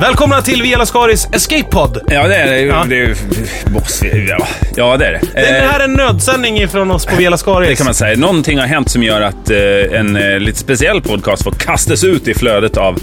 Välkomna till Via Lascaris Escape Pod. Ja, det är det. Ja. Ja. det är, boss, ja. ja, det är det. Det Eh, här är en nödsändning från oss på Via Lascaris. Det kan man säga. Någonting har hänt som gör att eh, en eh, lite speciell podcast får kastas ut i flödet av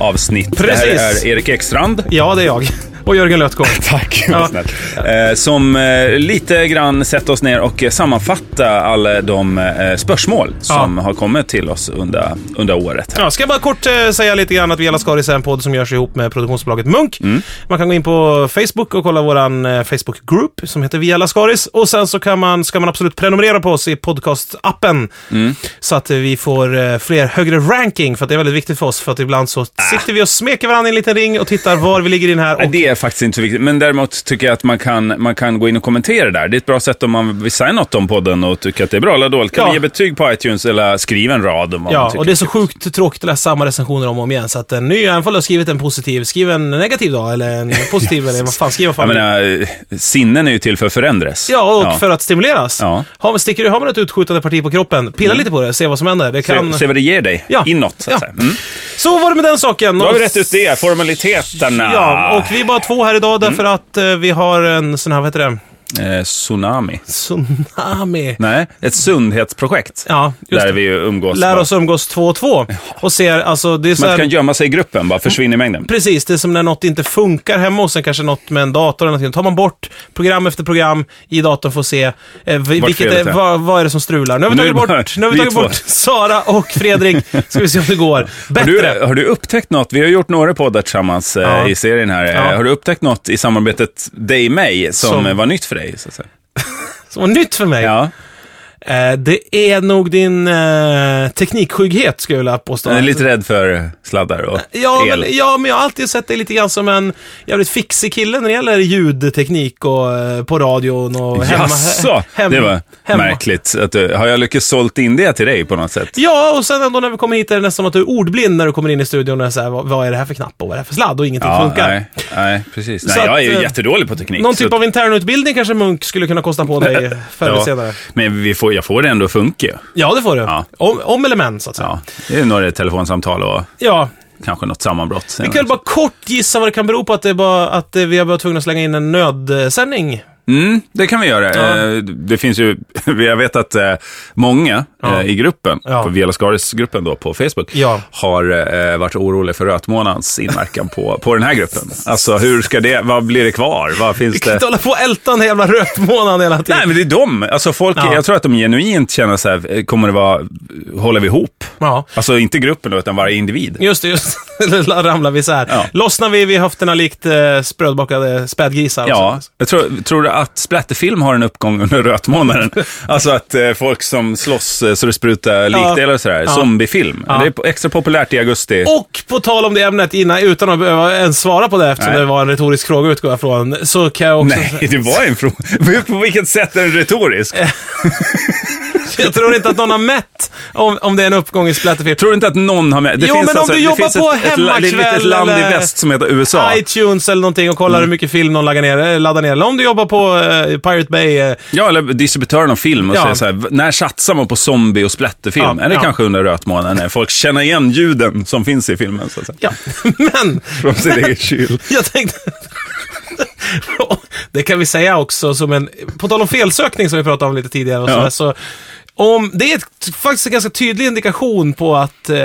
avsnitt. Det här Precis. är Erik Ekstrand. Ja, det är jag. Och Jörgen Lötgård. Tack, Ja. vad snällt. Eh, som eh, lite grann sätter oss ner och eh, sammanfatta alla de eh, spörsmål som har kommit till oss under, under året. Här. Ja, ska jag bara kort eh, säga lite grann att Via Lascaris är en podd som görs ihop med produktionsbolaget Munk. Mm. Man kan gå in på Facebook och kolla våran eh, Facebook-group som heter Via Lascaris. Och sen så kan man, ska man absolut prenumerera på oss i podcast-appen. Mm. Så att eh, vi får eh, fler högre ranking, för att det är väldigt viktigt för oss. För att ibland så Ah. sitter vi och smeker varandra i en liten ring och tittar var vi ligger i den här. Nej, Och, Det är faktiskt inte så viktigt, men däremot tycker jag att man kan, man kan gå in och kommentera där. Det är ett bra sätt om man vill säga något om podden och tycker att det är bra eller dåligt. Kan Ja. man ge betyg på iTunes eller skriva en rad om vad man ja, tycker. och det är så sjukt tråkigt att läsa samma recensioner om och om igen. Så att eh, nu, även om du har skrivit en positiv, skriv en negativ då, eller en positiv, eller vad fan, skriv vad fan. Jag du- menar, sinnen är ju till för att förändras. Ja, och för att stimuleras. Ja. Mm. Har, man- sticker, du- har man ett utskjutande parti på kroppen, pilla lite på det, se vad som händer. Det kan... Se, se vad det ger dig Ja. inåt, så att Ja. säga. Mm. Så var det med den saken. Då har vi Och- rätt ut Ah. Mm. det, formaliteterna. Ja, och vi är bara två här idag därför att eh, vi har en sån här, vad heter det, eh, tsunami. tsunami. Nej, ett sundhetsprojekt. Ja, just där det. vi ju umgås. Lär oss umgås två och två. Och ser, alltså det är så Man här, kan gömma sig i gruppen, bara försvinna i mängden. Precis, det är som när något inte funkar hemma och sen kanske något med en dator eller någonting. Då tar man bort program efter program i datorn för att se eh, vi- vilket felet är, är. vad, vad är det som strular. Nu har vi Nu är tagit det bara bort, nu har vi vi tagit två. bort Sara och Fredrik. Ska vi se om det går. Har Bättre! du, har du upptäckt något? Vi har gjort några poddar tillsammans eh, Ja. i serien här. Eh, Ja. Har du upptäckt något i samarbetet dig-mig som, Som- eh, var nytt för dig? Så att säga? Som var nytt för mig. Ja, Eh, det är nog din eh, teknikskygghet, skulle jag vilja påstå. jag är lite rädd för sladdar och Ja el. men, ja, men jag har alltid sett dig lite grann som en jävligt fixig kille när det gäller ljudteknik och eh, på radion och hemma. Jaså, hem- det var hemma. märkligt. Att, du- har jag lyckats sålt in det till dig på något sätt? Ja, och sen ändå när vi kommer hit är det nästan som att du är ordblind när du kommer in i studion. Och är så här, vad, vad är det här för knapp och vad är det här för sladd? Och ingenting funkar. nej, nej, precis. Nej, Så att, jag är ju eh, jättedålig på teknik. Någon så typ av internutbildning kanske Munk skulle kunna kosta på dig förr eller Ja, senare. Men vi får, jag får det ändå att funka. Ja, det får du. Ja. Om, om eller men, så att säga. Ja, det är några telefonsamtal och Ja. kanske något sammanbrott. Vi kan väl bara kort gissa vad det kan bero på att, det är bara, att eh, vi har varit tvungna att slänga in en nödsändning. Mm, det kan vi göra. Ja. Eh, Det finns ju, jag vet att eh, många Ja. eh, i gruppen, Ja. på Velascaris-gruppen då på Facebook, Ja. har eh, varit oroliga för rötmånadens inverkan på, på den här gruppen. Alltså hur ska det, vad blir det kvar? Vad finns Vi kan det? inte hålla på och älta den här jävla rötmånaden hela tiden. Nej, men det är de. Alltså folk, Ja. jag tror att de genuint känner så här, eh, kommer det vara, håller vi ihop? Ja. Alltså inte gruppen då, utan varje individ. Just det, just det. ramlar vi isär. Ja. Lossnar vi vid höfterna likt eh, sprödbakade spädgrisar. alltså. Ja, jag tror, tror du att splatterfilm har en uppgång under rötmånaden? alltså att eh, folk som slåss eh, så det sprutar likdelar och sådär. Zombiefilm. Det är po- extra populärt i augusti. Och på tal om det ämnet innan, utan att behöva ens svara på det eftersom Nej. det var en retorisk fråga utgår jag från, så kan jag också Nej, det var en fråga. På vilket sätt är den retorisk? Eh. Jag tror inte att någon har mätt om, om det är en uppgång i Splatterfilm. Tror du inte att någon har med... Det Jo, men om du det jobbar finns på ett, ett, la- det är ett litet hemmakväll land i eller- väst som heter USA. iTunes eller någonting och Mm. kollar hur mycket film någon laddar ner, eh, laddar ner. Eller om du jobbar på eh, Pirate Bay. Eh, Ja, eller distributören av film och Ja. säger så här, "V- när satsar man på zombie och splatterfilm? Ja, är det ja. kanske under rötmånaden? när Folk känner igen ljuden som finns i filmen, så att säga. ja, men Från sin egen kyl. jag tänkte... det kan vi säga också som en... På tal om felsökning som vi pratade om lite tidigare och Ja. sådär, så om, det är ett, faktiskt en ganska tydlig indikation på att eh,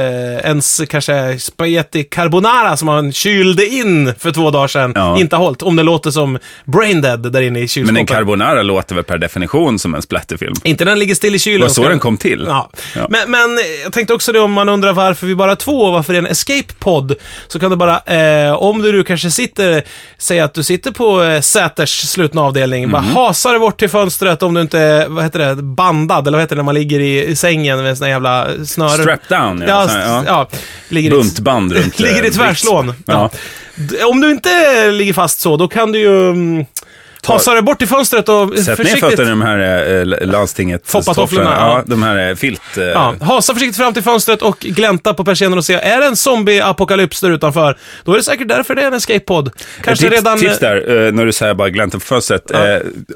ens kanske spaghetti carbonara som man kylde in för två dagar sedan Ja. inte har hållit. Om det låter som brain dead där inne i kylskåpet. Men en carbonara låter väl per definition som en splatterfilm? Inte när den ligger still i kylen. Det var så Ska- den kom till. Ja. Ja. Men, men jag tänkte också det om man undrar varför vi bara är två och varför det är en escape-podd. Så kan du bara, eh, om du nu kanske sitter, säg att du sitter på eh, Säters slutna avdelning, bara Mm. hasar dig bort till fönstret om du inte är, vad heter det, bandad, eller vad heter det när man ligger i, i sängen med såna jävla snören. Strap down, ja. Ja, Så här, ja. ja. ja. Ligger i- Buntband runt... eh, Ligger i brits. tvärslån. Ja. Ja. D- Om du inte ligger fast så, då kan du ju... mm, Tasar det bort i fönstret och Sätt försiktigt... ner fötterna i de här eh, landstinget Foppatofflorna, tofflorna. Ja, ja. de här eh, filt... Eh, Ja, hasa försiktigt fram till fönstret och glänta på persiennen och se, är det en zombie-apokalyps där utanför? Då är det säkert därför det är en escape-podd. Kanske tips, redan... tips där, eh, när du säger bara glänta på fönstret. Eh,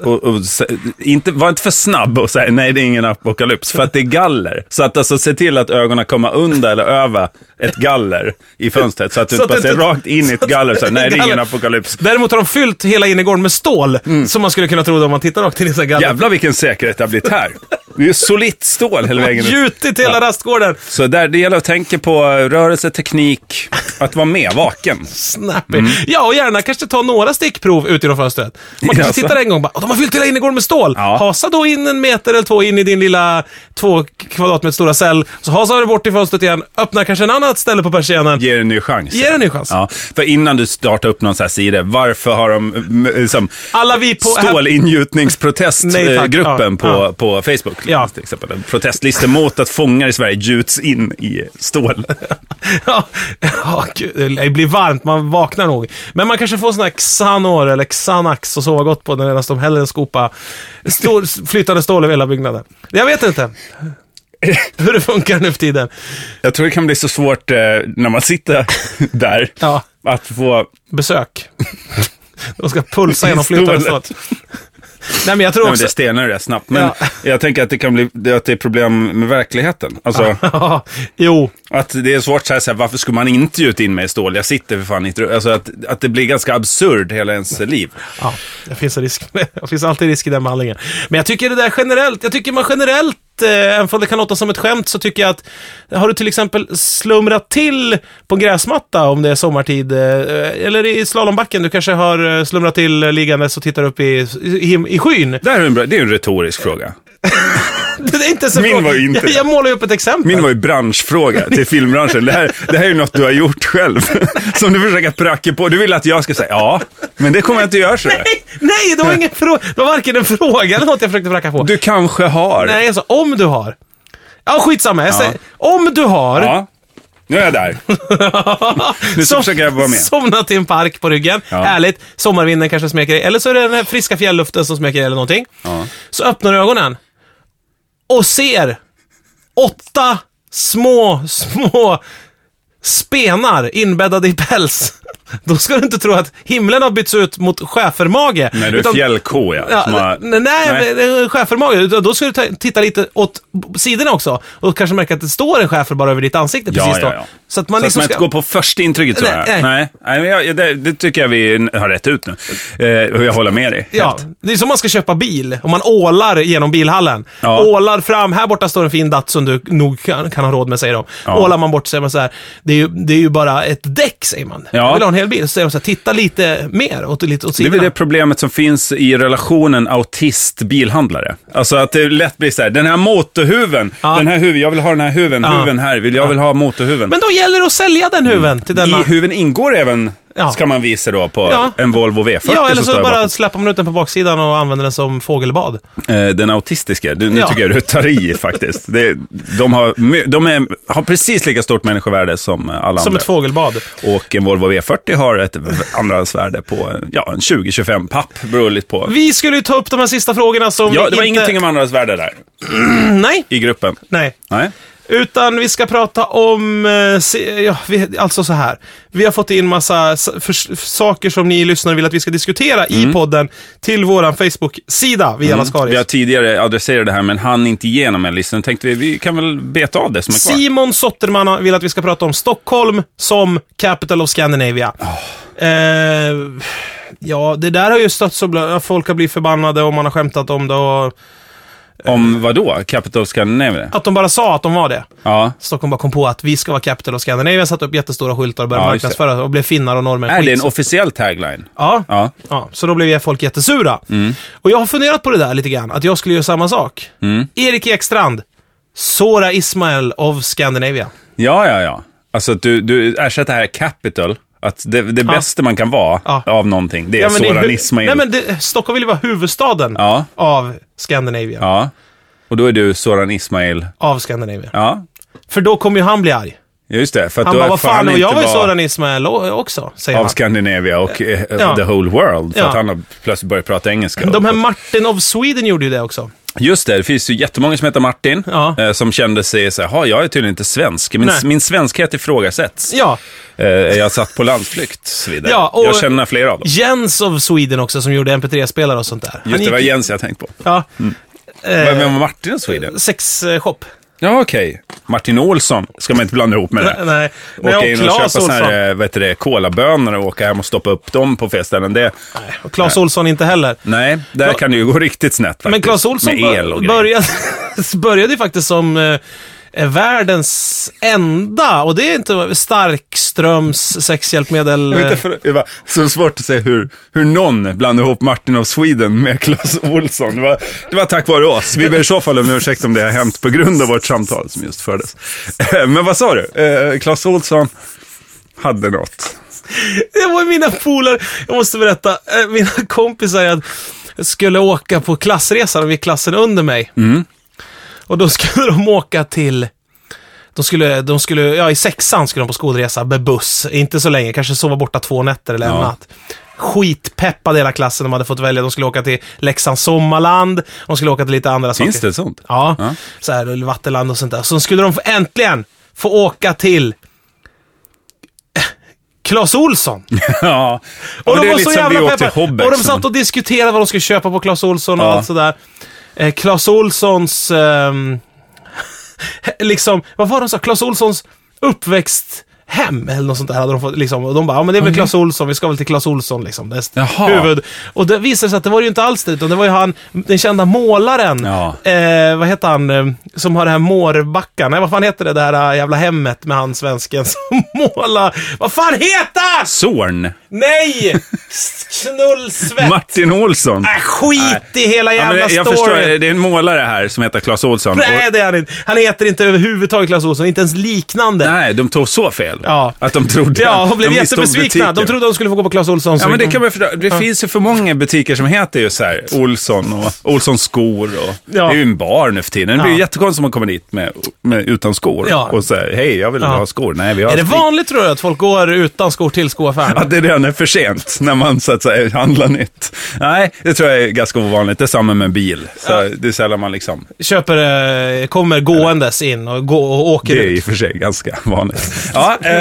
och, och, sä- inte, var inte för snabb och säg nej, det är ingen apokalyps, för att det är galler. Så att alltså, se till att ögonen kommer under eller över ett galler i fönstret, så att du Så inte bara att det ser inte- rakt in i ett galler och säger nej, det är ingen Galler. apokalyps. Däremot har de fyllt hela innergården med stål, Mm. som man skulle kunna tro det om man tittar rakt in i sina galler. Jävlar vilken säkerhet det har blivit här. Det är ju solitt stål hela vägen ut. Gjutit hela rastgården. Så där, det gäller att tänka på eh, rörelse, teknik, att vara med, vaken. Snappy. Mm. Ja, och gärna kanske ta några stickprov ut genom fönstret. Man kanske Jaså? tittar en gång och bara, "Åh, de har fyllt hela innergården med stål. Ja. Hasa då in en meter eller två in i din lilla två kvadratmeter stora cell. Så hasar du bort i fönstret igen, öppnar kanske en annat ställe på persiennen. Ger en ny chans. Ger en ny chans. Ja, för innan du startar upp någon sån här sida, varför har de mm, liksom, Alla vi på... Nej, tack. stålingjutningsprotestgruppen Ja, på, ja. på Facebook? Ja. Till exempel. En protestlistor mot att fångar i Sverige gjuts in i stål. Ja, ja gud, det blir varmt, man vaknar nog. Men man kanske får sån här Xanor eller Xanax och sova gott på den medan de häller en skopa stor, flytande stål över hela byggnaden. Jag vet inte hur det funkar nu för tiden. Jag tror det kan bli så svårt eh, när man sitter där, Ja. att få... Besök. De ska pulsa genom flytande stål. Stålet. Nej, men jag tror Nej, men det också... stenar rätt snabbt, men Ja. jag tänker att det kan bli att det är problem med verkligheten. Alltså, Ja, jo. Att det är svårt så här, så här, varför skulle man inte gjuta in mig i stål? Jag sitter för fan i ett rum. Alltså att, att det blir ganska absurd hela ens liv. Ja, det finns, en risk. det finns alltid risk i den behandlingen. Men jag tycker det där generellt, jag tycker man generellt, eh, även om det kan låta som ett skämt, så tycker jag att har du till exempel slumrat till på en gräsmatta om det är sommartid, eh, eller i slalombacken, du kanske har eh, slumrat till eh, liggandes och tittar upp i, i, i skyn. Det, här är en bra, det är ju en retorisk fråga. Det är inte så Min var ju inte jag, det. jag målar ju upp ett exempel. Min var ju branschfråga till filmbranschen. Det här, det här är ju något du har gjort själv. Som du försöker pracka på. Du vill att jag ska säga ja, men det kommer jag inte göra. Så. Nej, det var ingen fråga. Det var varken en fråga eller något jag försökte pracka på. Du kanske har. Nej, alltså om du har. Ja, skitsamma. Jag säger, om du har. Ja, nu är jag där. Nu ska Som- försöker jag vara med. Somnat i en park på ryggen. Ja. Härligt. Sommarvinden kanske smeker dig. Eller så är det den här friska fjällluften som smeker dig eller någonting. Ja. Så öppnar du ögonen. Och ser åtta små, små spenar inbäddade i päls. Då ska du inte tro att himlen har bytts ut mot schäfermage. Nej, du är Utan- fjällko ja. Ja, som har- nej, nej, Nej. nej. schäfermage. Utan Då ska du ta, titta lite åt b- sidorna också. Och kanske märka att det står en schäfer bara över ditt ansikte Ja, precis då. ja, ja. Så att man så liksom att man inte ska... går på första intrycket tror Nej, nej. jag. Nej, nej men jag, det, det tycker jag vi har rätt ut nu. Eh, och jag håller med dig. Ja, det är som man ska köpa bil. Om man ålar genom bilhallen. Ja. Ålar fram, här borta står en fin Datsun du nog kan, kan ha råd med, säger de. Ja. Ålar man bort säger man så här, det är ju, det är ju bara ett däck, säger man. Ja. Jag vill ha en hel bil. Så säger de så här, titta lite mer åt, lite åt Det är sidorna. väl det problemet som finns i relationen autist-bilhandlare. Alltså att det lätt blir så här, den här motorhuven, Ja. den här huven, jag vill ha den här huven, huven här, vill, jag vill ha motorhuven. Men då gäller det att sälja den huven till den Mm. I man... huven ingår även, Ja. ska man visa då, på Ja. en Volvo V40 Ja, eller som så står bara bakom. släpper man ut den på baksidan och använder den som fågelbad. Eh, Den autistiska, du, nu Ja. tycker jag du tar i faktiskt. Det, de har, my- de är, har precis lika stort människovärde som eh, alla Som andra. ett fågelbad. Och en Volvo V40 har ett v- andrahandsvärde på eh, ja, en 20-25 papp, beror lite på. Vi skulle ju ta upp de här sista frågorna som Ja, vi det var inte... ingenting om andrahandsvärde där, Nej, i gruppen. Mm. nej. Nej. Utan vi ska prata om, eh, se- ja, vi, alltså så här. Vi har fått in massa s- förs- saker som ni lyssnare vill att vi ska diskutera i podden till våran Facebook-sida, via Lascaris. Mm. Vi har tidigare adresserat det här, men hann inte igenom en lista. Nu tänkte vi, vi kan väl beta av det som är kvar. Simon Sotterman vill att vi ska prata om Stockholm som capital of Scandinavia. Ah. Eh, ja, det där har ju stött så bl- folk har blivit förbannade och man har skämtat om det och Om vad då? Capital of Scandinavia? att de bara sa att de var det. Ja. Stockholm bara kom på att vi ska vara capital of Scandinavia, satte upp jättestora skyltar och började Ja, just det. marknadsföra och blev finnar och norrmän. Är det en Skitsamma. officiell tagline? Ja. Ja. Ja, så då blev ju folk jättesura. Mm. Och jag har funderat på det där lite grann, att jag skulle göra samma sak. Mm. Erik Ekstrand, Sora Ismail of Scandinavia. Ja, ja, ja. Alltså att du, du ersätter här capital. Att det, det bästa man kan vara Ja. av någonting, det är Ja, men det är Soran hu- Ismail. Nej, men det, Stockholm vill ju vara huvudstaden Ja. av Scandinavia. Ja. Och då är du Soran Ismail. Av Scandinavia. Ja. För då kommer ju han bli arg. Ja, just det. För att Han du bara, har vad fan, fan och jag inte var ju var- Soran Ismail o- också, säger av han. Scandinavia och eh, Ja. the whole world. För Ja. att han har plötsligt börjat prata engelska. De här Martin of Sweden gjorde ju det också. Just det, det finns ju jättemånga som heter Martin. Ja. Eh, som kände sig så här, "Ha, jag är tydligen inte svensk. Min, Nej. min svenskhet ifrågasätts. Ja. Eh, jag satt på landsflykt och så vidare. Ja, och- jag känner flera av dem. Jens of Sweden också, som gjorde MP3-spelare och sånt där. Han Just det, gick- det var Jens Mm. jag tänkte på. Ja. Vem Eh, var Martin och Sweden? Sexshop. Ja, okej. Martin Olsson ska man inte blanda ihop med det. Nej. Nej, Åka in och och köpa Claes såna Olsson. här, eh, vad heter det, kolabönor och åka hem och stoppa upp dem på fel ställen. Det, Och Claes Olsson inte heller. nej, där Cla- kan det ju gå riktigt snett faktiskt. Men Claes Olsson Med el och bör- grejer. började, började ju faktiskt som eh, världens enda, och det är inte Starkströms sexhjälpmedel. Jag vet eh, inte för, det var så svårt att säga hur, hur någon blandade ihop Martin of Sweden med Claes Olsson. Det var, det var tack vare oss. Vi ber i så fall om ursäkt om det har hänt på grund av vårt samtal som just fördes. Eh, Men vad sa du? Eh, Claes Olsson hade något. Det var mina polare, jag måste berätta, Eh, mina kompisar jag skulle åka på klassresa, de gick klassen under mig. Mm. Och då skulle de åka till de skulle, de skulle, ja i sexan skulle de på skolresa med buss. Inte så länge, kanske sova borta två nätter eller en Ja. natt. Skitpeppade hela klassen, de hade fått välja. De skulle åka till Leksands sommarland, de skulle åka till lite andra saker. Finns det ett sånt? Ja, Ja. så här, eller Vattenland och sånt där. Så skulle de få, äntligen få åka till Clas Olsson. Ja. Och men de det är var så lite som vi jävla åkte till peppade. Hobbex. Och de satt och diskuterade vad de skulle köpa på Clas Olsson och Ja. allt sådär. Eh, Clas Olssons... ehm, liksom, vad var de sa? Clas Olssons uppväxthem eller något sånt där hade de fått. Liksom. Och de bara, ja men det är väl Clas Olsson, vi ska väl till Clas Olsson liksom. Det är st- Mhm. Jaha. huvud. Och det visade sig att det var ju inte alls det, utan det var ju han, den kända målaren. Ja. Eh, vad heter han? eh, Som har det här Mårbacka. Nej, vad fan heter det där eh, jävla hemmet med han svensken som målar? Vad fan heter han? Zorn. Nej! Knullsvett! Martin Olsson. Äh, skit i hela Ja, men jävla det, jag förstår, storyn! det är en målare här som heter Claes Olsson. Nej, det är han inte. Han heter inte överhuvudtaget Clas Ohlson, inte ens liknande. nej, de tog så fel. Ja. Att de trodde... ja, de blev de misstog jättebesvikna. De butiken. trodde de skulle få gå på Clas Ohlson. Ja, men det kan man förstå. Det finns ju för många butiker som heter just så här Olsson och Olssons skor. Och, Ja. Det är ju en bar nu för tiden. Det blir Ja. ju jättekonstigt om man kommer dit med, med, utan skor. Ja. Och så här, hej, jag vill Ja. ha skor. Nej, vi har Är det skor. vanligt tror du att folk går utan skor till skoaffären? Att det redan är för sent när man så att säga handlar nytt. Nej, det tror jag är ganska ovanligt. Det är samma med en bil. Så Det är sällan man liksom... Köper, eh, kommer gåendes in och, gå, och åker Det är ut. i och för sig ganska vanligt. Ja, eh,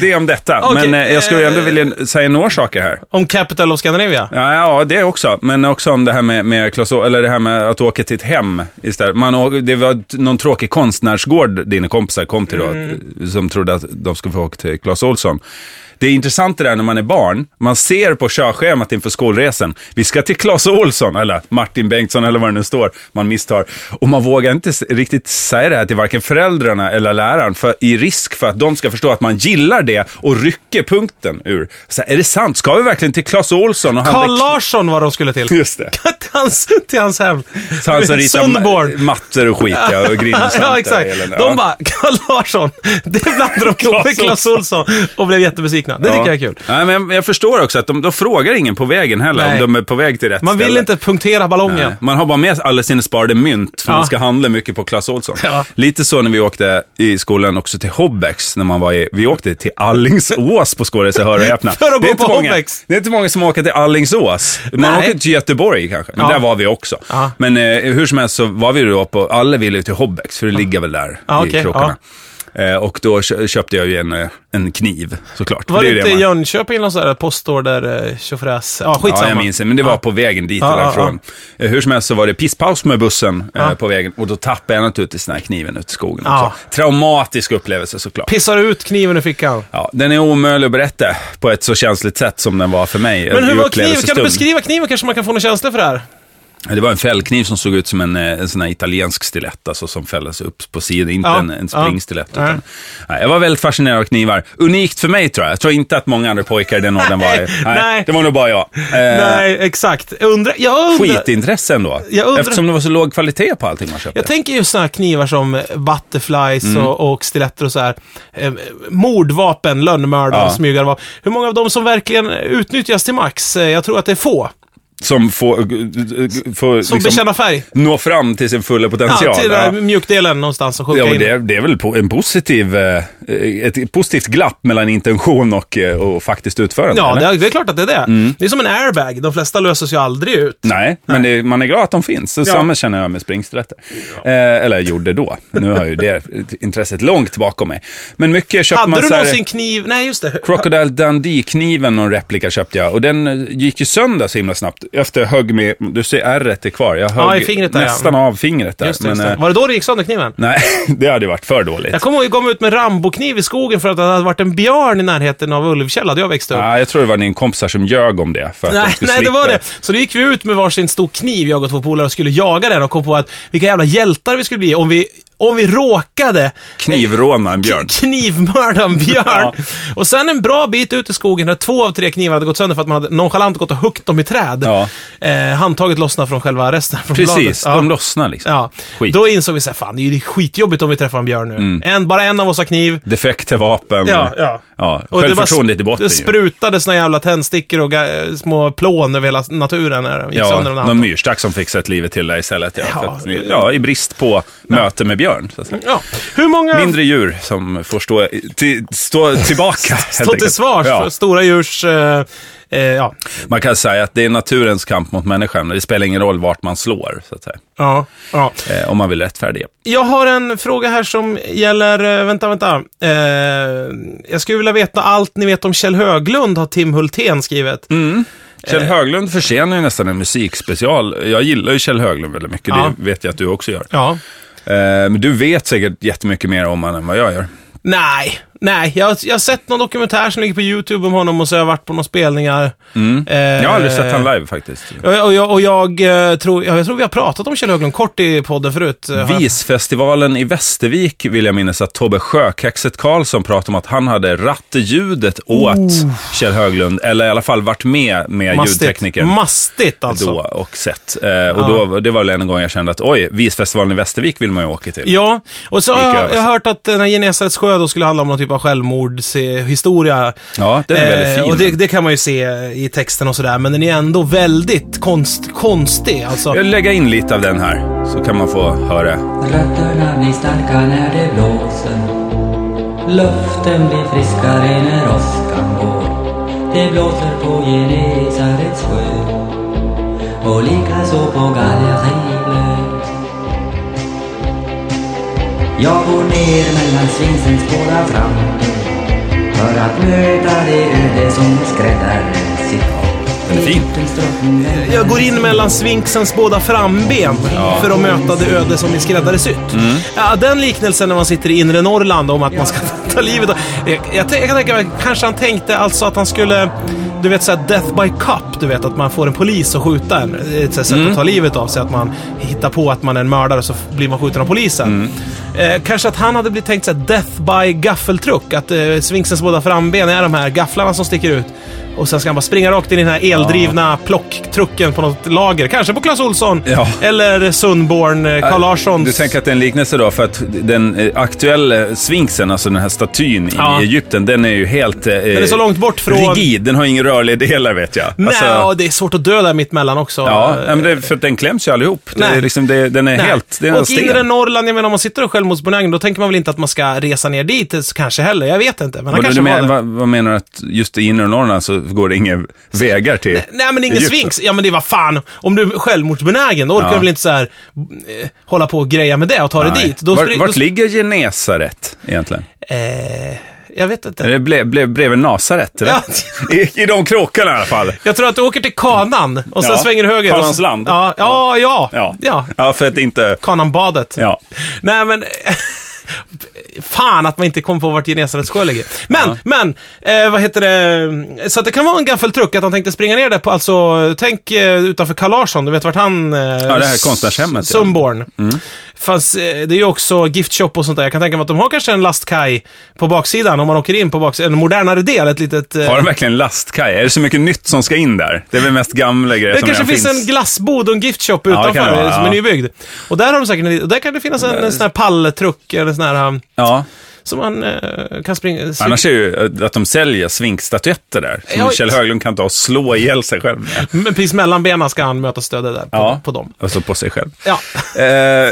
det om detta. Okej, Men eh, jag skulle ändå eh, vilja säga några saker här. Om Capital of Scandinavia? Ja, ja, det också. Men också om det här med, med, Klas, eller det här med att åka till ett hem istället. Man, å- det var t- någon tråkig konstnärsgård dina kompisar kom till då, som trodde att de skulle få åka till Clas Ohlson. Det är intressant det där när man är barn. Man ser på körschemat inför skolresan. Vi ska till Clas Ohlson, eller Martin Bengtsson, eller vad det nu står. Man misstar. Och man vågar inte s- riktigt säga det här till varken föräldrarna eller läraren, för, i risk för att de ska förstå att man gillar det och rycker punkten ur. Så här, är det sant? Ska vi verkligen till Clas Ohlson? och handla Carl Larsson var de skulle till. till, Just det. hans, till hans hem. Så han som ritar Sundborn. ma- mattor och skit ja, och grinslantar. Ja, exakt. och hela den- De ja. bara, Carl Larsson, det blandade de ihop med Clas Clas Ohlson och blev jättebesvikna. Det tycker jag är kul. Nej, men jag- jag förstår också att de, de frågar ingen på vägen heller Nej. om de är på väg till rätt Man vill ställe. inte punktera ballongen. Nej, Man har bara med alla sina sparade mynt, för Ja. man ska handla mycket på Clas Ohlson. Ja. Lite så när vi åkte i skolan också till Hobbex, när man var i, vi åkte till Allingsås på skolresa, hör och häpna. För att gå Det är inte på många- Hobbex. Det är inte många som åker till Allingsås. Man Nej. åker till Göteborg kanske, men Ja. där var vi också. Ja. Men eh, hur som helst så var vi då på, alla ville ju till Hobbex, för det ligger väl där Ja, i okej, krokarna. Eh, och då kö- köpte jag ju en, eh, en kniv, såklart. Var är det, ju inte i man- Jönköping någon sån där postorder eh, tjofräs? Ja, Ja, skitsamma. jag minns det. Men det var på vägen dit Ja, eller ja, ifrån. Eh, Hur som helst så var det pisspaus med bussen eh, Ja. på vägen och då tappade jag naturligtvis den här kniven ut i skogen Ja. också. Traumatisk upplevelse såklart. Pissar ut kniven ur fickan. Ja, den är omöjlig att berätta på ett så känsligt sätt som den var för mig. Men eh, hur i var kniven? Kan du upplevelsestund. beskriva kniven? Kanske man kan få någon känsla för det här? Det var en fällkniv som såg ut som en, eh, en sån här italiensk stilett, alltså som fälldes upp på sidan. Inte Ja, en, en ja. springstilett. Nej. Utan, nej, jag var väldigt fascinerad av knivar. Unikt för mig tror jag. Jag tror inte att många andra pojkar i den åldern var i. Nej. Det var nog bara jag. Eh, Nej, exakt. Undra, jag undrar... skitintresse ändå. Jag undrar- Eftersom det var så låg kvalitet på allting man köpte. Jag tänker ju såna här knivar som butterflies Mm. och, och stiletter och så här. Eh, mordvapen, lönnmördare, Ja. smygarvapen. Hur många av dem som verkligen utnyttjas till max? Eh, Jag tror att det är få. Som får, g- får Som liksom bekänner färg. nå fram till sin fulla Ja, potential. till den där mjukdelen någonstans och sjunka Ja, men in. det, är, det är väl po- en positiv eh, eh, ett positivt glapp mellan intention och, eh, och faktiskt utförande. Ja, eller? det, är- det är klart att det är det. Det är som en airbag. De flesta löses ju aldrig ut. Mm. Nej, men det, man är glad att de finns. Så Samma känner jag med springsträtter. Eh, eller gjorde då. Nu har ju det intresset långt bakom mig. Men mycket köpte man Hade du så här- någonsin kniv? Nej, just det. Crocodile Dundee-kniven och replika köpte jag. Och den eh, gick ju sönder så himla snabbt. Efter jag högg med, du ser ärret är kvar. Jag högg Ja, i fingret där, ja. nästan av fingret där. Just det, just men, det. eh, Var det då det gick sönder kniven? Nej, det hade ju varit för dåligt. Jag kommer ihåg att jag gav mig ut med rambokniv i skogen för att det hade varit en björn i närheten av Ulvkälla där jag växte upp. Ja, jag tror det var din kompisar som ljög om det. För att de Nej, skulle nej, det slippa. var det. Så då gick vi ut med varsin stor kniv, jag och två polare, och skulle jaga den och kom på att vilka jävla hjältar vi skulle bli om vi, om vi råkade Knivråna en björn. knivmörda en björn. Ja. Och sen en bra bit ut i skogen där två av tre knivar hade gått sönder för att man hade nonchalant gått och huggit dem i träd. Ja. Eh, handtaget lossnade från själva resten. Från bladet. Precis, Ja. de lossnar liksom. Ja, Skit. Mm. då insåg vi så här, fan det är ju skitjobbigt om vi träffar en björn nu. En, bara en av oss har kniv. Defekta vapen. Ja, ja. ja. Självförtroendet i bara, botten det ju. sprutade såna jävla tändstickor och ga- små plån över hela naturen när de gick Ja, sönder den andra. någon myrstack som fixat livet till dig istället. Ja, Ja. för att, ja, I brist på möte med björn. Så att säga. Ja. Hur många... Mindre djur som får stå, till, stå tillbaka. helt Stå till enkelt. svars Ja. för stora djurs... Eh, eh, ja. Man kan säga att det är naturens kamp mot människan. Det spelar ingen roll vart man slår, så att säga. Ja, ja. Eh, om man vill rättfärdiga. Jag har en fråga här som gäller... eh, Vänta, vänta. Eh, jag skulle vilja veta allt ni vet om Kjell Höglund, har Tim Hultén skrivit. Mm. Kjell Eh. Höglund försenar ju nästan en musikspecial. Jag gillar ju Kjell Höglund väldigt mycket, Ja. det vet jag att du också gör. Ja. Eh, men du vet säkert jättemycket mer om honom än vad jag gör. Nej, nej. Jag, jag har sett någon dokumentär som ligger på YouTube om honom och så har jag varit på några spelningar. Eh, Mm. Jag har aldrig sett han live faktiskt. Och, och, jag, och jag, eh, tror, ja, jag tror vi har pratat om Kjell Höglund kort i podden förut. Eh, har jag- Visfestivalen i Västervik vill jag minnas att Tobbe Sjökaxet Karlsson pratade om att han hade ratteljudet åt Oh. Kjell Höglund, eller i alla fall varit med med ljudteknikern. Mastigt alltså. då och sett. Eh, och då, det var väl en gång jag kände att oj, Visfestivalen i Västervik vill man ju åka till. Ja, och så har Gick jag, över. jag har hört att eh, den här Genesarets sjö då skulle handla om någon typ av självmordshistoria. Eh, Ja, den är väldigt fin. Och det, det kan man ju se i texten och sådär, men den är ändå väldigt konst, konstig. Alltså. Jag lägger in lite av den här, så kan man få höra. Rötterna blir starka när det blåser Luften blir friskare när åskan går Det blåser på Genesarets sjö och likaså på galleriet Jag går ner mellan svingsens båda framben för att möta det öde som skräddar sitt hopp Den är fin. Egyptens drottning är Jag går in mellan svinksens båda framben för att möta det öde som är skräddarsytt. Ja, den liknelsen när man sitter i inre Norrland om att man ska ta livet av... Jag, jag, tän- jag kan tänka mig, kanske han tänkte alltså att han skulle... Du vet såhär death by cup, du vet att man får en polis att skjuta en. Det är Ett sånt sätt att ta livet av sig, att man hittar på att man är en mördare och så f- blir man skjuten av polisen. Eh, kanske att han hade blivit tänkt såhär death by gaffeltruck, att eh, svinksens båda framben är de här gafflarna som sticker ut. Och sen ska han bara springa rakt in i den här eldrivna plocktrucken på något lager. Kanske på Clas Ohlson Ja. eller Sundborn, eh, Carl Larssons. Du tänker att det är en liknelse då, för att den eh, aktuella svinksen, alltså den här statyn Ja. i Egypten, den är ju helt... Eh, är så långt bort från- Rigid, den har ingen rörlig delar vet jag. Nej, Alltså, och det är svårt att dö där mitt mellan också. ja, Eh, nej, men det, är för att den kläms ju allihop. Det Nej. är liksom, det, den är Nej. helt... Det är en och sten. inre Norrland, jag menar om man sitter och självmordsbenägen, då tänker man väl inte att man ska resa ner dit eh, kanske heller. Jag vet inte, men han Vadå, kanske du var men, det. vad, vad menar du att just i inre Norrland så går det inga vägar till Nej men ingen Egypten? svinx. Ja men det var fan, om du är självmordsbenägen, då orkar Ja. du väl inte så här, eh, hålla på och greja med det och ta dig Nej. dit. Då Var, skulle- vart då- ligger Genesaret egentligen? eh, jag vet inte. Är det ble, ble, bredvid Nasaret? eller? I, I de krokarna i alla fall. Jag tror att du åker till Kanan och sen Ja, svänger du höger. och så- Kanans land. Ja, ja, ja. Ja. ja. ja, för att inte... Kananbadet. Ja. Nej, men... Fan att man inte kom på vart Genesarets sjö ligger. Men, men, eh, vad heter det? Så att det kan vara en gaffeltruck, att han tänkte springa ner där på, alltså, tänk eh, utanför Carl Larsson, du vet vart han... Eh, ja, det här konstnärshemmet, ja. Mm. Sundborn. Fast eh, det är ju också giftshop och sånt där. Jag kan tänka mig att de har kanske en lastkaj på baksidan, om man åker in på baksidan. En modernare del, ett litet... eh, Har de verkligen lastkaj? Är det så mycket nytt som ska in där? Det är väl mest gamla grejer Det som kanske redan finns en glassbod och en giftshop utanför det kan det vara, som ja. är nybyggd. Och där har de säkert en, och där kan det finnas en, en sån här palltruck eller sån här um, Ja, som man eh, kan springa... sy- annars är ju eh, att de säljer svinkstatyetter där. Som Ja, Kjell Höglund kan ta och slå ihjäl sig själv med. Men precis mellan benen ska han möta stödet där på, på dem. Alltså på sig själv. Ja. Eh,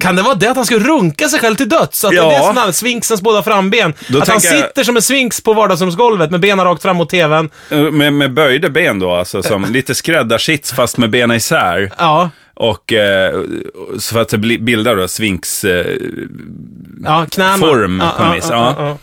Kan det vara det att han ska runka sig själv till döds? Att det Ja. är det som är svinksens båda framben? Då att han tänker jag- sitter som en svinks på vardagsrumsgolvet med benen rakt fram mot TVn. eh, med, med böjda ben då, alltså som lite skräddarsits fast med benen isär. Ja, Och eh, så för att det bli- bildar då svinks... Eh, ja knäna. Form, ja, på något vis, ja. ja.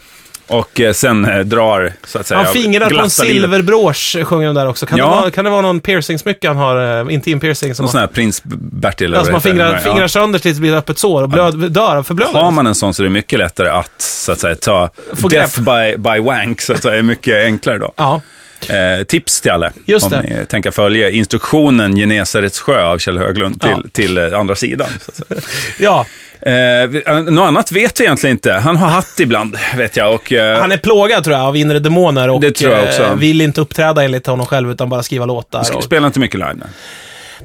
och eh, sen eh, drar, så att säga. Han fingrar på en glattar livet. silverbrås, sjunger de där också. Kan, Ja. det vara, kan det vara någon piercingsmycka han har, eh, intim piercing som Någon sån man, här prins Bertil. eller alltså man vad det heter. fingrar, Ja. fingrar sönder tills det blir ett öppet sår och blöd, dör av förblödning? Har man en sån så är det mycket lättare att, så att säga, ta Få death by, by wank, så att säga, är mycket enklare då. Ja. Eh, tips till alla, Just om det. ni tänker följa instruktionen Genesarets sjö av Kjell Höglund till, Ja. till eh, andra sidan. Så att säga. ja. Eh, vi- eh, något annat vet jag egentligen inte. Han har hatt ibland, vet jag. Och, eh, Han är plågad tror jag av inre demoner och Det tror jag också. eh, vill inte uppträda enligt honom själv utan bara skriva låtar. sk- Och, spelar inte mycket live.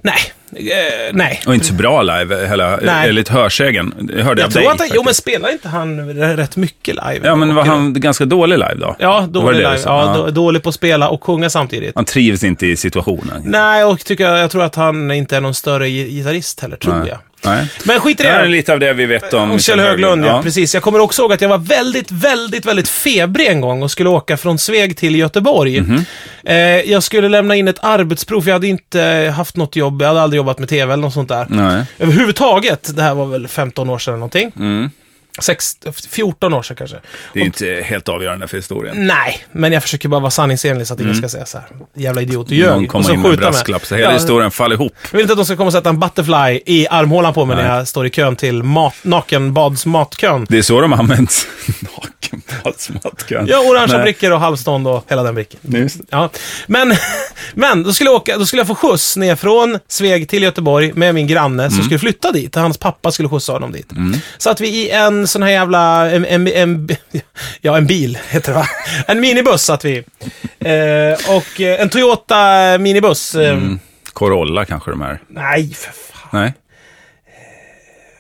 nej. nej, eh, nej. Och inte så bra live, heller, Nej. enligt hörsägen. Det hörde jag, Jag tror dig, att han, jo faktiskt. men spelar inte han r- rätt mycket live? Ja, men var han ganska dålig live då? Ja, Var det dålig det du live. sa? Ja, Ja. då, dålig på att spela och sjunga samtidigt. Han trivs inte i situationen. Nej, och tycker jag, jag tror att han inte är någon större gi- gitarrist heller, tror Nej. jag. Nej. Men skit i Det här är det. lite av det vi vet om, Om Kjell Höglund, ja. Precis. Jag kommer också ihåg att jag var väldigt, väldigt, väldigt febrig en gång och skulle åka från Sveg till Göteborg. Mhm. eh, jag skulle lämna in ett arbetsprov, för jag hade inte haft något jobb. Jag hade aldrig jobbat med TV eller något sånt där. Nej. Överhuvudtaget. Det här var väl 15 år sedan eller någonting. Mm. Sex, 14 år sedan kanske. Det är inte helt avgörande för Mm. historien. Nej, men jag försöker bara vara sanningsenlig så att ingen ska säga så här. Jävla idiot, du Mm. Någon ljög. Och kommer så in med skjuta mig. brasklapp, så hela historien faller ihop. Jag vill inte att de ska komma och sätta en butterfly i armhålan på mig när Nej. jag står i kön till mat, nakenbadsmatkön. Det är så de används. Nakenbadsmattkön. Ja, orangea Nej, brickor och halvstånd och hela den bricken. just det. Ja. Men, men då, skulle jag åka, då skulle jag få skjuts ner från Sveg till Göteborg med min granne Mm. som skulle flytta dit. Hans pappa skulle skjutsa honom dit. Så att vi i en sån här jävla, en, en, en, ja en bil heter det va? En minibuss satt vi i. eh, Och eh, en Toyota minibuss. Eh, Mm. Corolla kanske de här. Nej, för fan. Nej.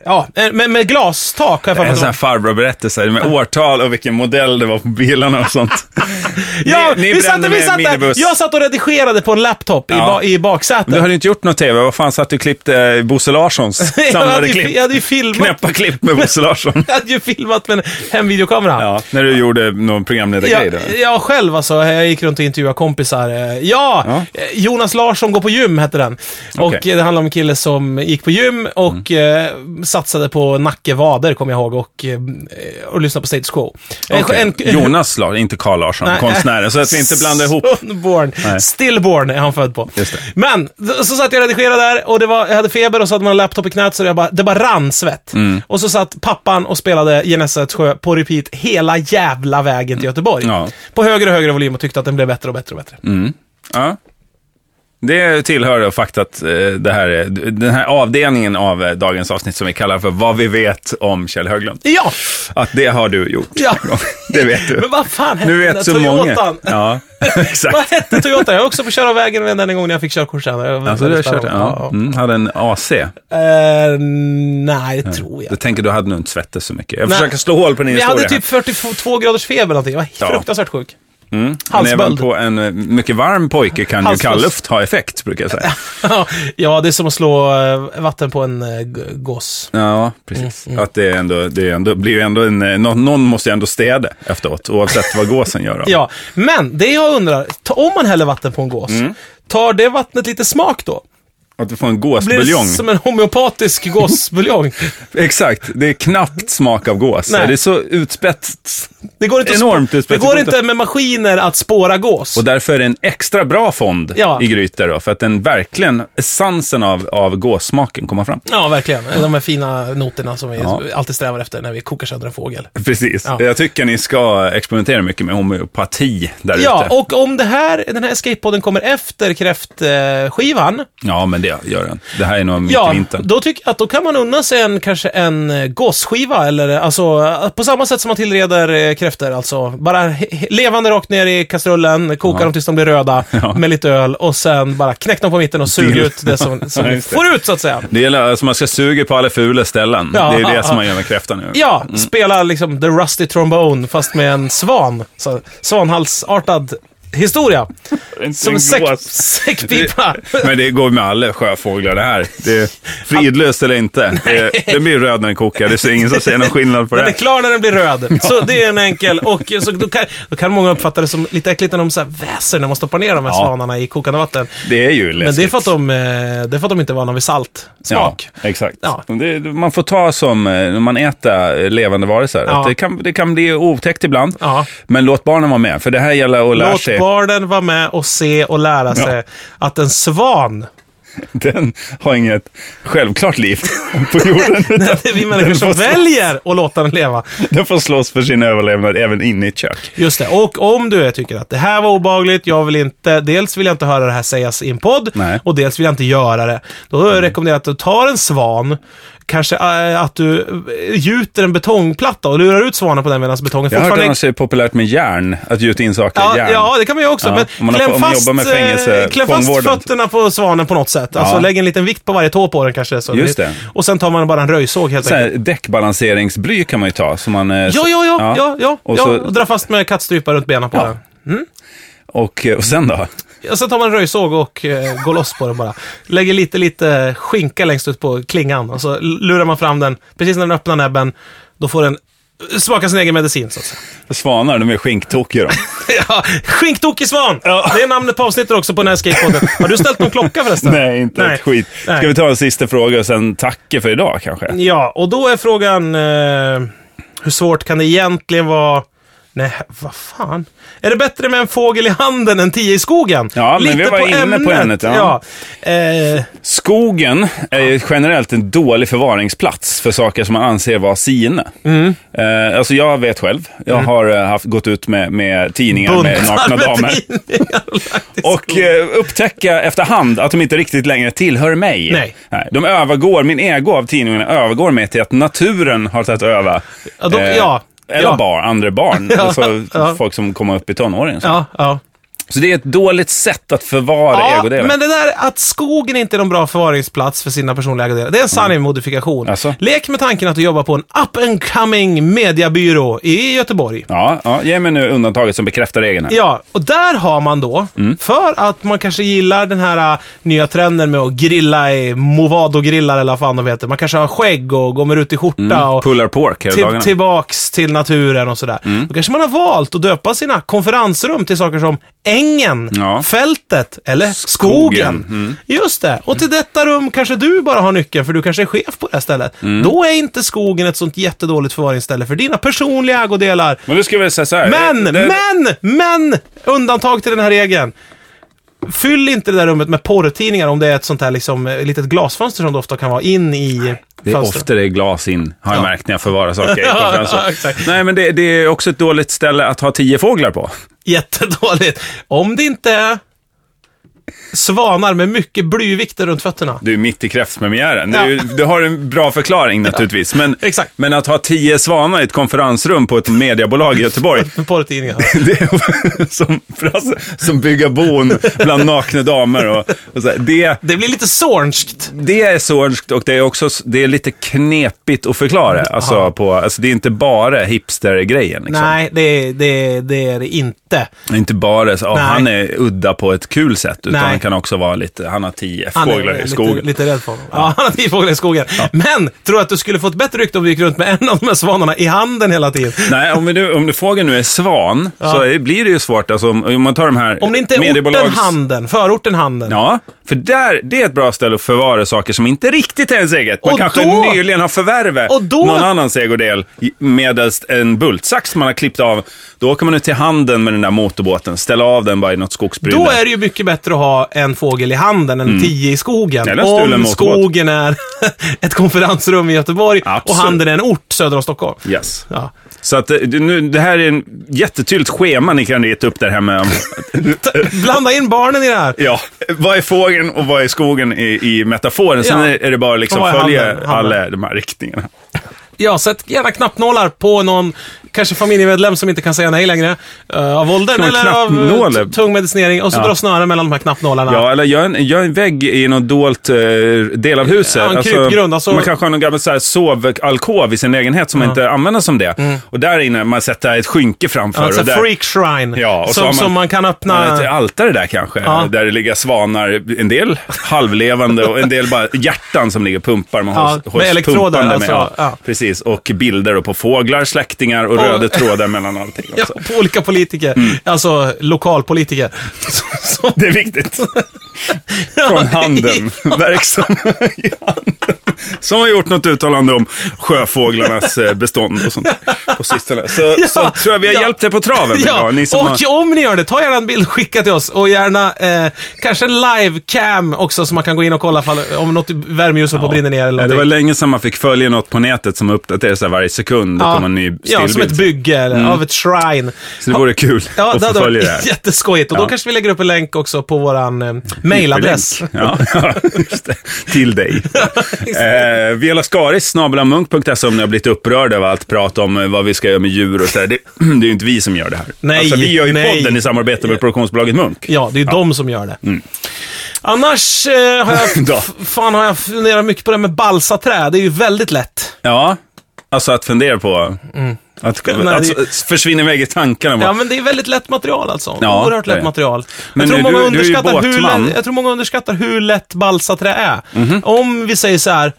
Ja, eh, med, med glastak har jag för Det mig är att sån det Eh, här var. farbrorberättelser med årtal och vilken modell det var på bilarna och sånt. Ja, ni vi brände satt, med vi en satt där. minibuss. Jag satt och redigerade på en laptop i, Ja. ba, i Men Du baksätet. hade ju inte gjort något tv. Vad fan satt du och klippte Bosse Larssons Jag hade, samlade ju, klipp? jag hade ju filmat. Knäppa klipp med Bosse Larsson. Jag hade ju filmat med en hemvideokamera. Ja, när du gjorde någon programledargrej jag, då. jag själv alltså, jag gick runt och intervjuade kompisar. Eh, Ja, Ja. eh, Jonas Larsson går på gym hette den. Och Okej. Mm. eh, det handlar om en kille som gick på gym och eh, satsade på nacke vader, kommer jag ihåg, och, eh, och lyssnade på Status Quo. En- Okej. en- Jonas Larsson, inte Carl Larsson, Nej. konstnären. Så att vi inte blandar ihop. Sunborn. Nej. Stillborn är han född på. Just det. Men, så satt jag och redigerade där och det var, jag hade feber och så hade man en laptop i knät så det bara, det bara rann svett. Mm. Och så satt pappan och spelade Genesarets sjö på repeat hela jävla vägen till Göteborg. Ja. Mm. På högre och högre volym och tyckte att den blev bättre och bättre och bättre. Ja. Det tillhör och faktat eh, det här, eh, den här avdelningen av eh, dagens avsnitt som vi kallar för Vad vi vet om Kjell Höglund. Ja! Att det har du gjort. Ja. Det vet du. Men vad fan hette Nu den där vet så många. Toyotan? Ja, Vad exakt. hette Toyota? Jag har också fått köra av vägen den en gång när jag fick körkort sen. Jag var Alltså, du har väldigt kört den? spännande. Ja. Mm, hade en AC. Eh, nej, det tror jag Jag tänker, du hade nog inte svettats så mycket. Jag Nej. försöker slå hål på din Vi historia. hade typ 42 graders feber eller någonting. Jag var Ja. fruktansvärt sjuk. Men även typ halsböld. på en eh, mycket varm pojke kan ju Halsfluss. kallluft ha effekt, brukar jag säga. ja, det är som att slå eh, vatten på en eh, g- gås. Ja, precis. Mm, Att det, är ändå, det är ändå, blir ju ändå en, eh, någon, någon måste ju ändå städa efteråt, oavsett vad gåsen gör. då. Ja, men det jag undrar, ta, om man häller vatten på en gås, Mm. tar det vattnet lite smak då? Att du får en Blir gåsbuljong. det som en homeopatisk gåsbuljong? Exakt, det är knappt smak av gås. Nej. Det är så utspätt. Det går inte, att Enormt spå- det utspätt. går inte med maskiner att spåra gås. Och därför är det en extra bra fond Ja. i grytor då, för att den verkligen, essensen av, av gåssmaken kommer fram. Ja, verkligen. De här fina noterna som vi Ja. alltid strävar efter när vi kokar sönder en fågel. Precis. Ja. Jag tycker ni ska experimentera mycket med homeopati där ute. Ja, och om det här, den här escape-podden kommer efter kräftskivan, eh, skivan, ja, men det gör den. Det här är nog mitt i Ja, vintern. då tycker jag att då kan man unna sig en, kanske en eh, gåsskiva eller eh, alltså eh, på samma sätt som man tillreder eh, kräftor alltså. Bara he- he- levande rakt ner i kastrullen, koka dem tills de blir röda Ja. med lite öl och sen bara knäck dem på mitten och sug Dill. ut det som, som Ja, ni just det. får ut så att säga. Det gäller, alltså man ska suga på alla fula ställen. Ja. Det är det som man gör med kräftan nu. Ja, spela liksom the rusty trombone fast med en svan. Så, svanhalsartad historia. En- Som en en säck, gås. säckpipa. Men det går med alla sjöfåglar det här. Det är fridlöst eller inte. Det, den blir röd när den kokar. Det är ingen som ser någon skillnad på Den är det. klar när den blir röd. Så det är en enkel. Och så, då, kan, då kan många uppfatta det som lite äckligt när de så här väser när man stoppar ner de här Ja. svanarna i kokande vatten. Det är ju läskigt. Men det är för att de, eh, det är för att de inte är vana vid salt. Smak. Ja, exakt. Ja. Det, man får ta som eh, när man äter eh, levande varelser. Ja. Att Det, kan, det kan bli otäckt ibland, Ja. men låt barnen vara med. För det här gäller att lära Låt sig. barnen vara med och se och lära sig att en svan, Den har inget självklart liv på jorden. utan det är vi människor den som får slå- väljer att låta den leva. Den får slåss för sin överlevnad även inne i ett kök. Just det. Och om du tycker att det här var obagligt, jag vill inte, dels vill jag inte höra det här sägas i en podd, Nej. Mm. och dels vill jag inte göra det. Då rekommenderar jag att du tar en svan, kanske eh, att du eh, gjuter en betongplatta och lurar ut svanen på den medan betongen Jag har hört fortfarande annars är det populärt med järn, att gjuta in saker Ja, i järn. ja, det kan man ju också. Ja, Men om man har- kläm om man fast, jobbar med fängelse- eh, kläm fast fångvården. fötterna på svanen på något sätt. Alltså Ja. lägg en liten vikt på varje tå på den kanske. Så Just det. Och sen tar man bara en röjsåg helt Så enkelt. här, däckbalanseringsbly kan man ju ta. Som man, eh, Ja, så- ja, ja. ja. ja, ja, Och, och, så, dra fast med kattstrypar runt benen på Ja. den. och, eh, och sen då? Ja, sen tar man en röjsåg och eh, går loss på den bara. Lägger lite, lite skinka längst ut på klingan och så lurar man fram den. Precis när den öppnar näbben, då får den smaka sin egen medicin så att säga. Svanar, de är skinktokiga de. Ja, Skinktokig svan! Det är namnet på avsnittet också på den här skatepodden. Har du ställt någon klocka förresten? Nej, inte ett skit. Nej. Ska vi ta en sista fråga och sen tacka för idag kanske? Ja, och då är frågan eh, hur svårt kan det egentligen vara? Nej, vad fan. Är det bättre med en fågel i handen än tio i skogen? Ja, men vi var inne på ämnet, ja. ja. Eh, Skogen är ju generellt en dålig förvaringsplats för saker som man anser vara sina. Mm. Eh, alltså jag vet själv. Jag har eh, haft, gått ut med, med tidningar med buntar nakna med damer. tidningar och lagt i Och skogen. eh, upptäcka efterhand att de inte riktigt längre tillhör mig. Nej. de övergår, min ego av tidningarna övergår mig till att naturen har tagit över. Eh, Ja, de- ja, Eller ja. barn, andra barn. Ja, alltså, ja. Folk som kommer upp i tonåren. Så. Ja, ja. så det är ett dåligt sätt att förvara Ja, egodelen. men det där att skogen inte är någon bra förvaringsplats för sina personliga ägodelar, det är en sann modifikation. Alltså? Lek med tanken att du jobbar på en up and coming mediabyrå i Göteborg. Ja, ja, ge mig nu undantaget som bekräftar regeln. här. Ja, och där har man då, Mm. för att man kanske gillar den här äh, nya trenden med att grilla i Movado-grillar eller vad fan de heter. Man kanske har skägg och går med rutig skjorta och Pull our pork hela till, dagarna. Mm. tillbaks till naturen och sådär. Då kanske man har valt att döpa sina konferensrum till saker som ängen, Ja. Mm. fältet eller skogen. Just det. Och till detta rum kanske du bara har nyckeln för du kanske är chef på det här stället. Mm. Då är inte skogen ett sånt jättedåligt förvaringsställe för dina personliga ägodelar. Men nu ska vi säga så här. Men, det, det, men, men! Undantag till den här regeln. Fyll inte det där rummet med porrtidningar om det är ett sånt här liksom, eh, litet glasfönster som det ofta kan vara in i Det är fönstret. ofta det är glas in, har jag märkt när jag förvarar saker i Ja, konferenser. exakt. Nej, men det, det är också ett dåligt ställe att ha tio fåglar på. Jättedåligt. Om det inte är svanar med mycket blyvikter runt fötterna. Du är mitt i kräftpremiären. Ja. Du, du har en bra förklaring naturligtvis. Men, Exakt. men att ha tio svanar i ett konferensrum på ett mediebolag i Göteborg, Med porrtidningar. det är som, frasse- som bygga bon bland nakna damer. Och, och så här, det, Det blir lite sornskt. det är sorgskt och det är också det är lite knepigt att förklara. Alltså, på, alltså, det är inte bara hipstergrejen. Liksom. Nej, det, det, det är det inte. Det är Inte bara så, "Ah, Nej. han är udda på ett kul sätt, utan Nej. han kan också vara lite, han har tio Han är fåglar i Lite, skogen. lite rädd för honom. Ja, han har tio fåglar i skogen. Men, tror du att du skulle få ett bättre rykte om du gick runt med en av de här svanarna i handen hela tiden? Nej, om, vi nu, om du frågar nu är svan, så är- blir det ju svårt. Alltså, om, om man tar de här Om det inte är mediebolags- orten Handen, förorten Handen. Ja, för där, det är ett bra ställe att förvara saker som inte riktigt är ens eget. Man Och kanske då- nyligen har förvärvat Och då- någon annans ägodel i- medelst en bultsax som man har klippt av. Då åker man ut till handen med den där motorbåten, ställa av den bara i något skogsbrynne. Då är det ju mycket bättre att ha en fågel i handen än Mm. tio i skogen. Eller en stulen Om motorbåt. skogen är ett konferensrum i Göteborg Absolut. och handen är en ort söder om Stockholm. Yes. Ja. Så att, eh, det- nu, det här är en jättetydligt schema ni kan rita upp där hemma. om- Blanda in barnen i det här. ja, vad är fågeln och vad är skogen i, i metaforen? Sen Ja. är är det bara liksom Och vad är följa handen? Handen. alla de här riktningarna. Ja, sätt gärna knappnålar på någon kanske familjemedlem som inte kan säga nej längre. eh, av åldern Någon eller av eh, knappnål. t- tung medicinering. Och så Ja. drar snören mellan de här knappnålarna. Ja, eller gör en, gör en vägg i någon dolt eh, del av huset. Ja, en krypgrund, alltså- Man kanske har någon gammal så här, sovalkov i sin lägenhet som inte används som det. Mm. Och där inne, man sätter ett skynke framför. Alltså och där, freak shrine. Ja, och så som, har man- som man kan Man har öppna. ett altare där kanske, Ja. där det ligger svanar, en del halvlevande och en del bara hjärtan som ligger och pumpar. Man Ja, hålls, med hålls elektroder pumpande med, alltså, ja, ja. Precis, och bilder och på fåglar, släktingar och röda trådar mellan allting. Ja, Också. på olika politiker. Alltså lokalpolitiker. Som- som- Mm. Det är viktigt. Från handen, verksam i handen. Som har gjort något uttalande om sjöfåglarnas eh, bestånd och sånt på sistone. Så, Ja, så tror jag vi har ja. hjälpt er på traven Ja, idag, ni som och har... om ni gör det, ta gärna en bild och skicka till oss. Och gärna eh, kanske en livecam också, så man kan gå in och kolla fall, om något värmeljus håller på att brinna ner eller Ja, det var någonting. länge sedan man fick följa något på nätet som uppdaterades så här varje sekund. Det kom en ny ja, som ett stillbild. bygge eller, av ett shrine. Så det vore kul Ja, att det få hade följa det varit här. jätteskojigt. Och då Ja. kanske vi lägger upp en länk också på våran eh, mailadress. Ja, just det. Till dig. eh, Vialaskaris, snabbelamunk.se E om ni har blivit upprörda över allt prat om eh, vad vi ska göra med djur och sådär. Det, det är ju inte vi som gör det här. Nej, alltså, vi gör ju nej. podden i samarbete med produktionsbolaget Munk. Ja, det är ju de som gör det. Annars eh, har jag, Mm. Då. f- fan, har jag funderat mycket på det här med balsaträ. Det är ju väldigt lätt. Ja, alltså att fundera på... Att, Nej, Mm. det- att, s- försvinna iväg i tankarna. bara. Ja, men det är väldigt lätt material alltså. Ja, Oerhört det lätt är. material. Men jag, nu, tror många du- du är ju underskattar hur båtman. Mhm. lätt, jag tror många underskattar hur lätt balsaträ är. Om vi säger så här,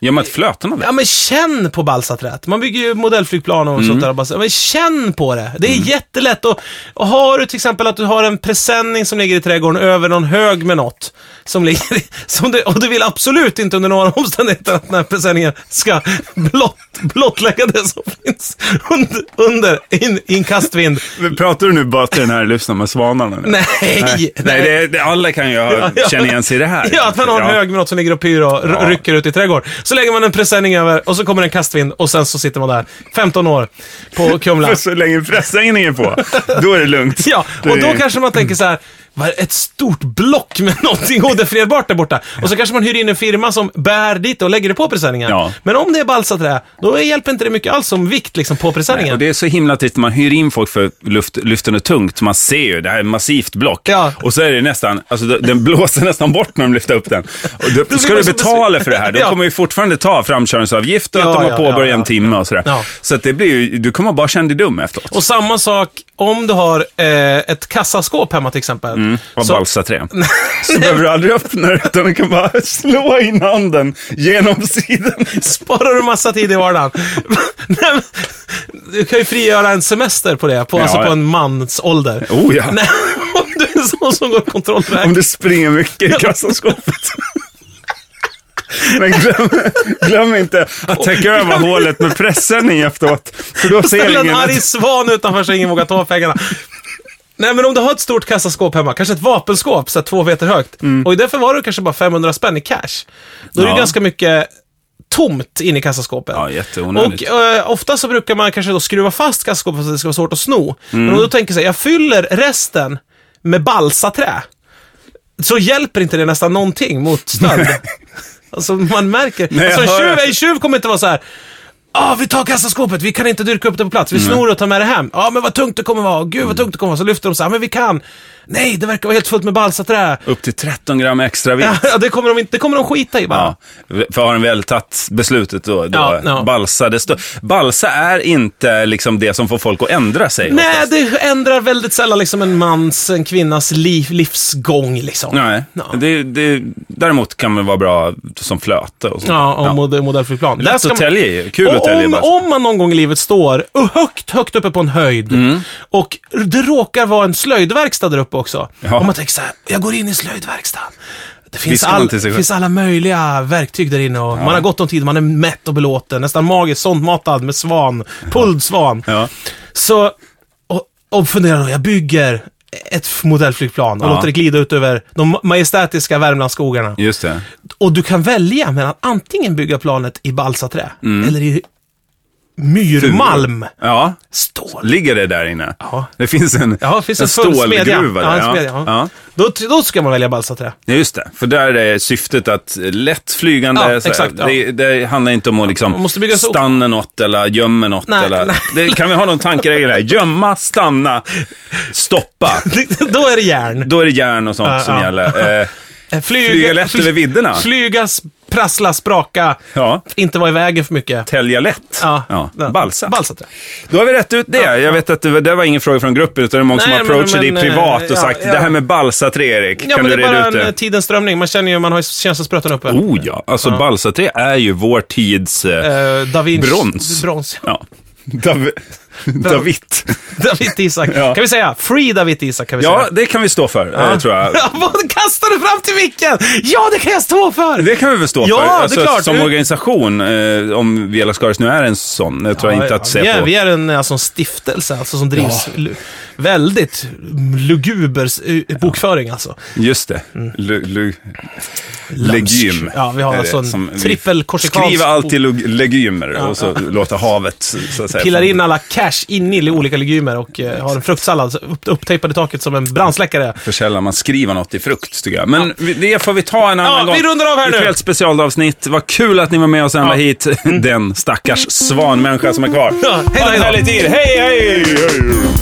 Gör man ett flöten av det? ja men känn på balsaträt. Man bygger ju modellflygplan och Mhm. sånt där. och bara så- Men känn på det. Det är jättelätt. Och, och har du till exempel att du har en presenning som ligger i trädgården över någon hög med något. Som ligger i, som du, och du vill absolut inte under några omständigheter att den här presenningen ska blott, blottlägga det som finns under, under in, i en kastvind. Pratar du nu bara till den här lyssnaren med svanarna? nu? Nej, Nej, nej det, det, alla kan ju ha, Ja, ja. känna igen sig i det här. Ja, att man har en hög med något som ligger och pyr och r- Ja. rycker ut i trädgården. Så lägger man en presenning över och så kommer en kastvind och sen så sitter man där 15 år på Kumla. För så länge pressen är på, då är det lugnt. Ja, och då kanske man tänker så här. "Vad är Ett stort block med någonting odefinierbart där borta. Och så kanske man hyr in en firma som bär dit och lägger det på presenningen. Ja. Men om det är balsaträ, då hjälper inte det mycket alls som vikt liksom, på presenningen. Och det är så himla trist, man hyr in folk för luft, luften är tungt, man ser ju, det här är ett massivt block. Ja. Och så är det nästan, alltså d- den blåser nästan bort när de lyfter upp den. Och då, blir ska man du så betala besviken. för det här, då Ja. kommer ju fortfarande ta framkörningsavgift och Ja, att de har ja, påbörjat ja, en ja. timme och sådär. Ja. Så att det blir ju, du kommer bara känna dig dum efteråt. Och samma sak om du har eh, ett kassaskåp hemma till exempel. Av Så- balsaträ. Så behöver du aldrig öppna det, utan du kan bara slå in handen genom sidan. Sparar du massa tid i vardagen? Nej, men, du kan ju frigöra en semester på det, på, alltså Ja, på ja. en mans ålder. Oh ja. Nej, om du är en sån som går kontrollväg. Om det springer mycket i kassaskåpet. Men glöm, glöm inte att täcka över hålet med presenning efteråt. För då ser Ställ en ingen arg att... svan utanför så ingen vågar ta pengarna. Nej, men om du har ett stort kassaskåp hemma, kanske ett vapenskåp, så här två meter högt, och i det förvarar du kanske bara 500 spänn i cash. Då är det Ja. ganska mycket tomt inne i kassaskåpet. Ja, jätteonödigt. Och eh, ofta så brukar man kanske då skruva fast kassaskåpet så att det ska vara svårt att sno. Men om du tänker så här, jag fyller resten med balsaträ. Så hjälper inte det nästan någonting mot stöld. alltså man märker. Nej, jag alltså, en, hör tjuv, att- en tjuv kommer inte vara så här. Ah, vi tar kassaskåpet, vi kan inte dyrka upp det på plats. Vi snor och tar med det hem. Ja, ah, men vad tungt det kommer vara. Gud vad tungt det kommer vara. Så lyfter de så här, men vi kan. Nej, det verkar vara helt fullt med balsaträ. Upp till 13 gram extra vikt. Ja, det kommer de, inte, det kommer de skita i bara. Ja, för har den väl tagit beslutet då, då Ja, ja. balsa. Det stå, balsa är inte liksom det som får folk att ändra sig. Nej, oftast. det ändrar väldigt sällan liksom en mans, en kvinnas liv, livsgång liksom. Nej. Ja. Det, det, däremot kan man vara bra som flöte och sånt. Ja, och Modell, modellflygplan. Där Lätt ska att man- tälja i. Kul att Och tälja i om, balsa. om man någon gång i livet står och högt, högt uppe på en höjd Mm. och det råkar vara en slöjdverkstad där uppe också. Ja. Om man tänker så här, jag går in i slöjdverkstaden. Det finns, Viskar man all, till sig själv. finns alla möjliga verktyg där inne och man har gott om tid, man är mätt och belåten, nästan magiskt sondmatad med svan, pulled svan. Ja. Så, och, och funderar då, jag bygger ett modellflygplan och Ja. låter det glida ut över de majestätiska Värmlandsskogarna. Just det. Mm. Och du kan välja mellan antingen bygga planet i balsaträ eller i myrmalm. Ja, Stål. ligger det där inne? Ja. Det finns en, Ja, det finns en, en full smedja. stålgruva Ja, där. en smedja, ja. Då, då ska man välja balsaträ. Ja, just det. För där är syftet att lätt flygande, Ja, så här, exakt, ja. det, det handlar inte om att liksom Man måste bygga så- stanna något eller gömma något. Nej, eller, nej. Det, kan vi ha någon tankeregel här? Gömma, stanna, stoppa. då är det järn. Då är det järn och sånt Ja, som ja. gäller. Eh, Eh, Flyg, Flyga lätt fly- över vidderna. Flyga, s- prassla, spraka. ja, Inte vara i vägen för mycket. tälja lätt. Balsa. Balsaträ. Då har vi rätt ut det. Jag vet att det, var- det var ingen fråga från gruppen, utan det är många Nej, som men- approachar dig men, privat och eh, ja, sagt ja. det här med balsaträ, Erik. Ja, kan men du det är reda bara ut en det? eh, tidens strömning. Man känner ju, man har ju känselspröten uppe. Oh ja, alltså balsaträ är ju vår tids... Eh, Eh, da Vinci. Brons. Brons. ja. Dav- David. David Isak. Ja. Kan vi säga? Free David Isak kan vi Ja, säga. det kan vi stå för, eh, tror jag. Ja, Vad kastar du fram till micken? Ja, det kan jag stå för! Det kan vi väl stå Ja, för? det är Alltså, klart. Som Du- organisation, eh, om Vela Skaris nu är en sån, det tror jag inte att se vi, är, på. vi är en alltså, en stiftelse alltså, som drivs lu- väldigt luguber eh, bokföring alltså. Just det. Lu- lu- Lömsk. legym. Ja, vi har är det alltså en som vi- trippelkorsikansk- Skriva alltid lug- legumer och så låta havet, så att säga. Pillar in alla cash in i olika legumer och eh, har en fruktsallad så upp, upptejpad i taket som en brandsläckare. för sällan man skriver något i frukt, tycker jag. Men vi- det får vi ta en annan Ja, gång. vi rundar av här Ett nu. helt specialavsnitt. Vad kul att ni var med och sända hit den stackars svanmänniska som är kvar. Mm. Ja, hej då, ha en hej då. härlig tid. hej! hej, hej.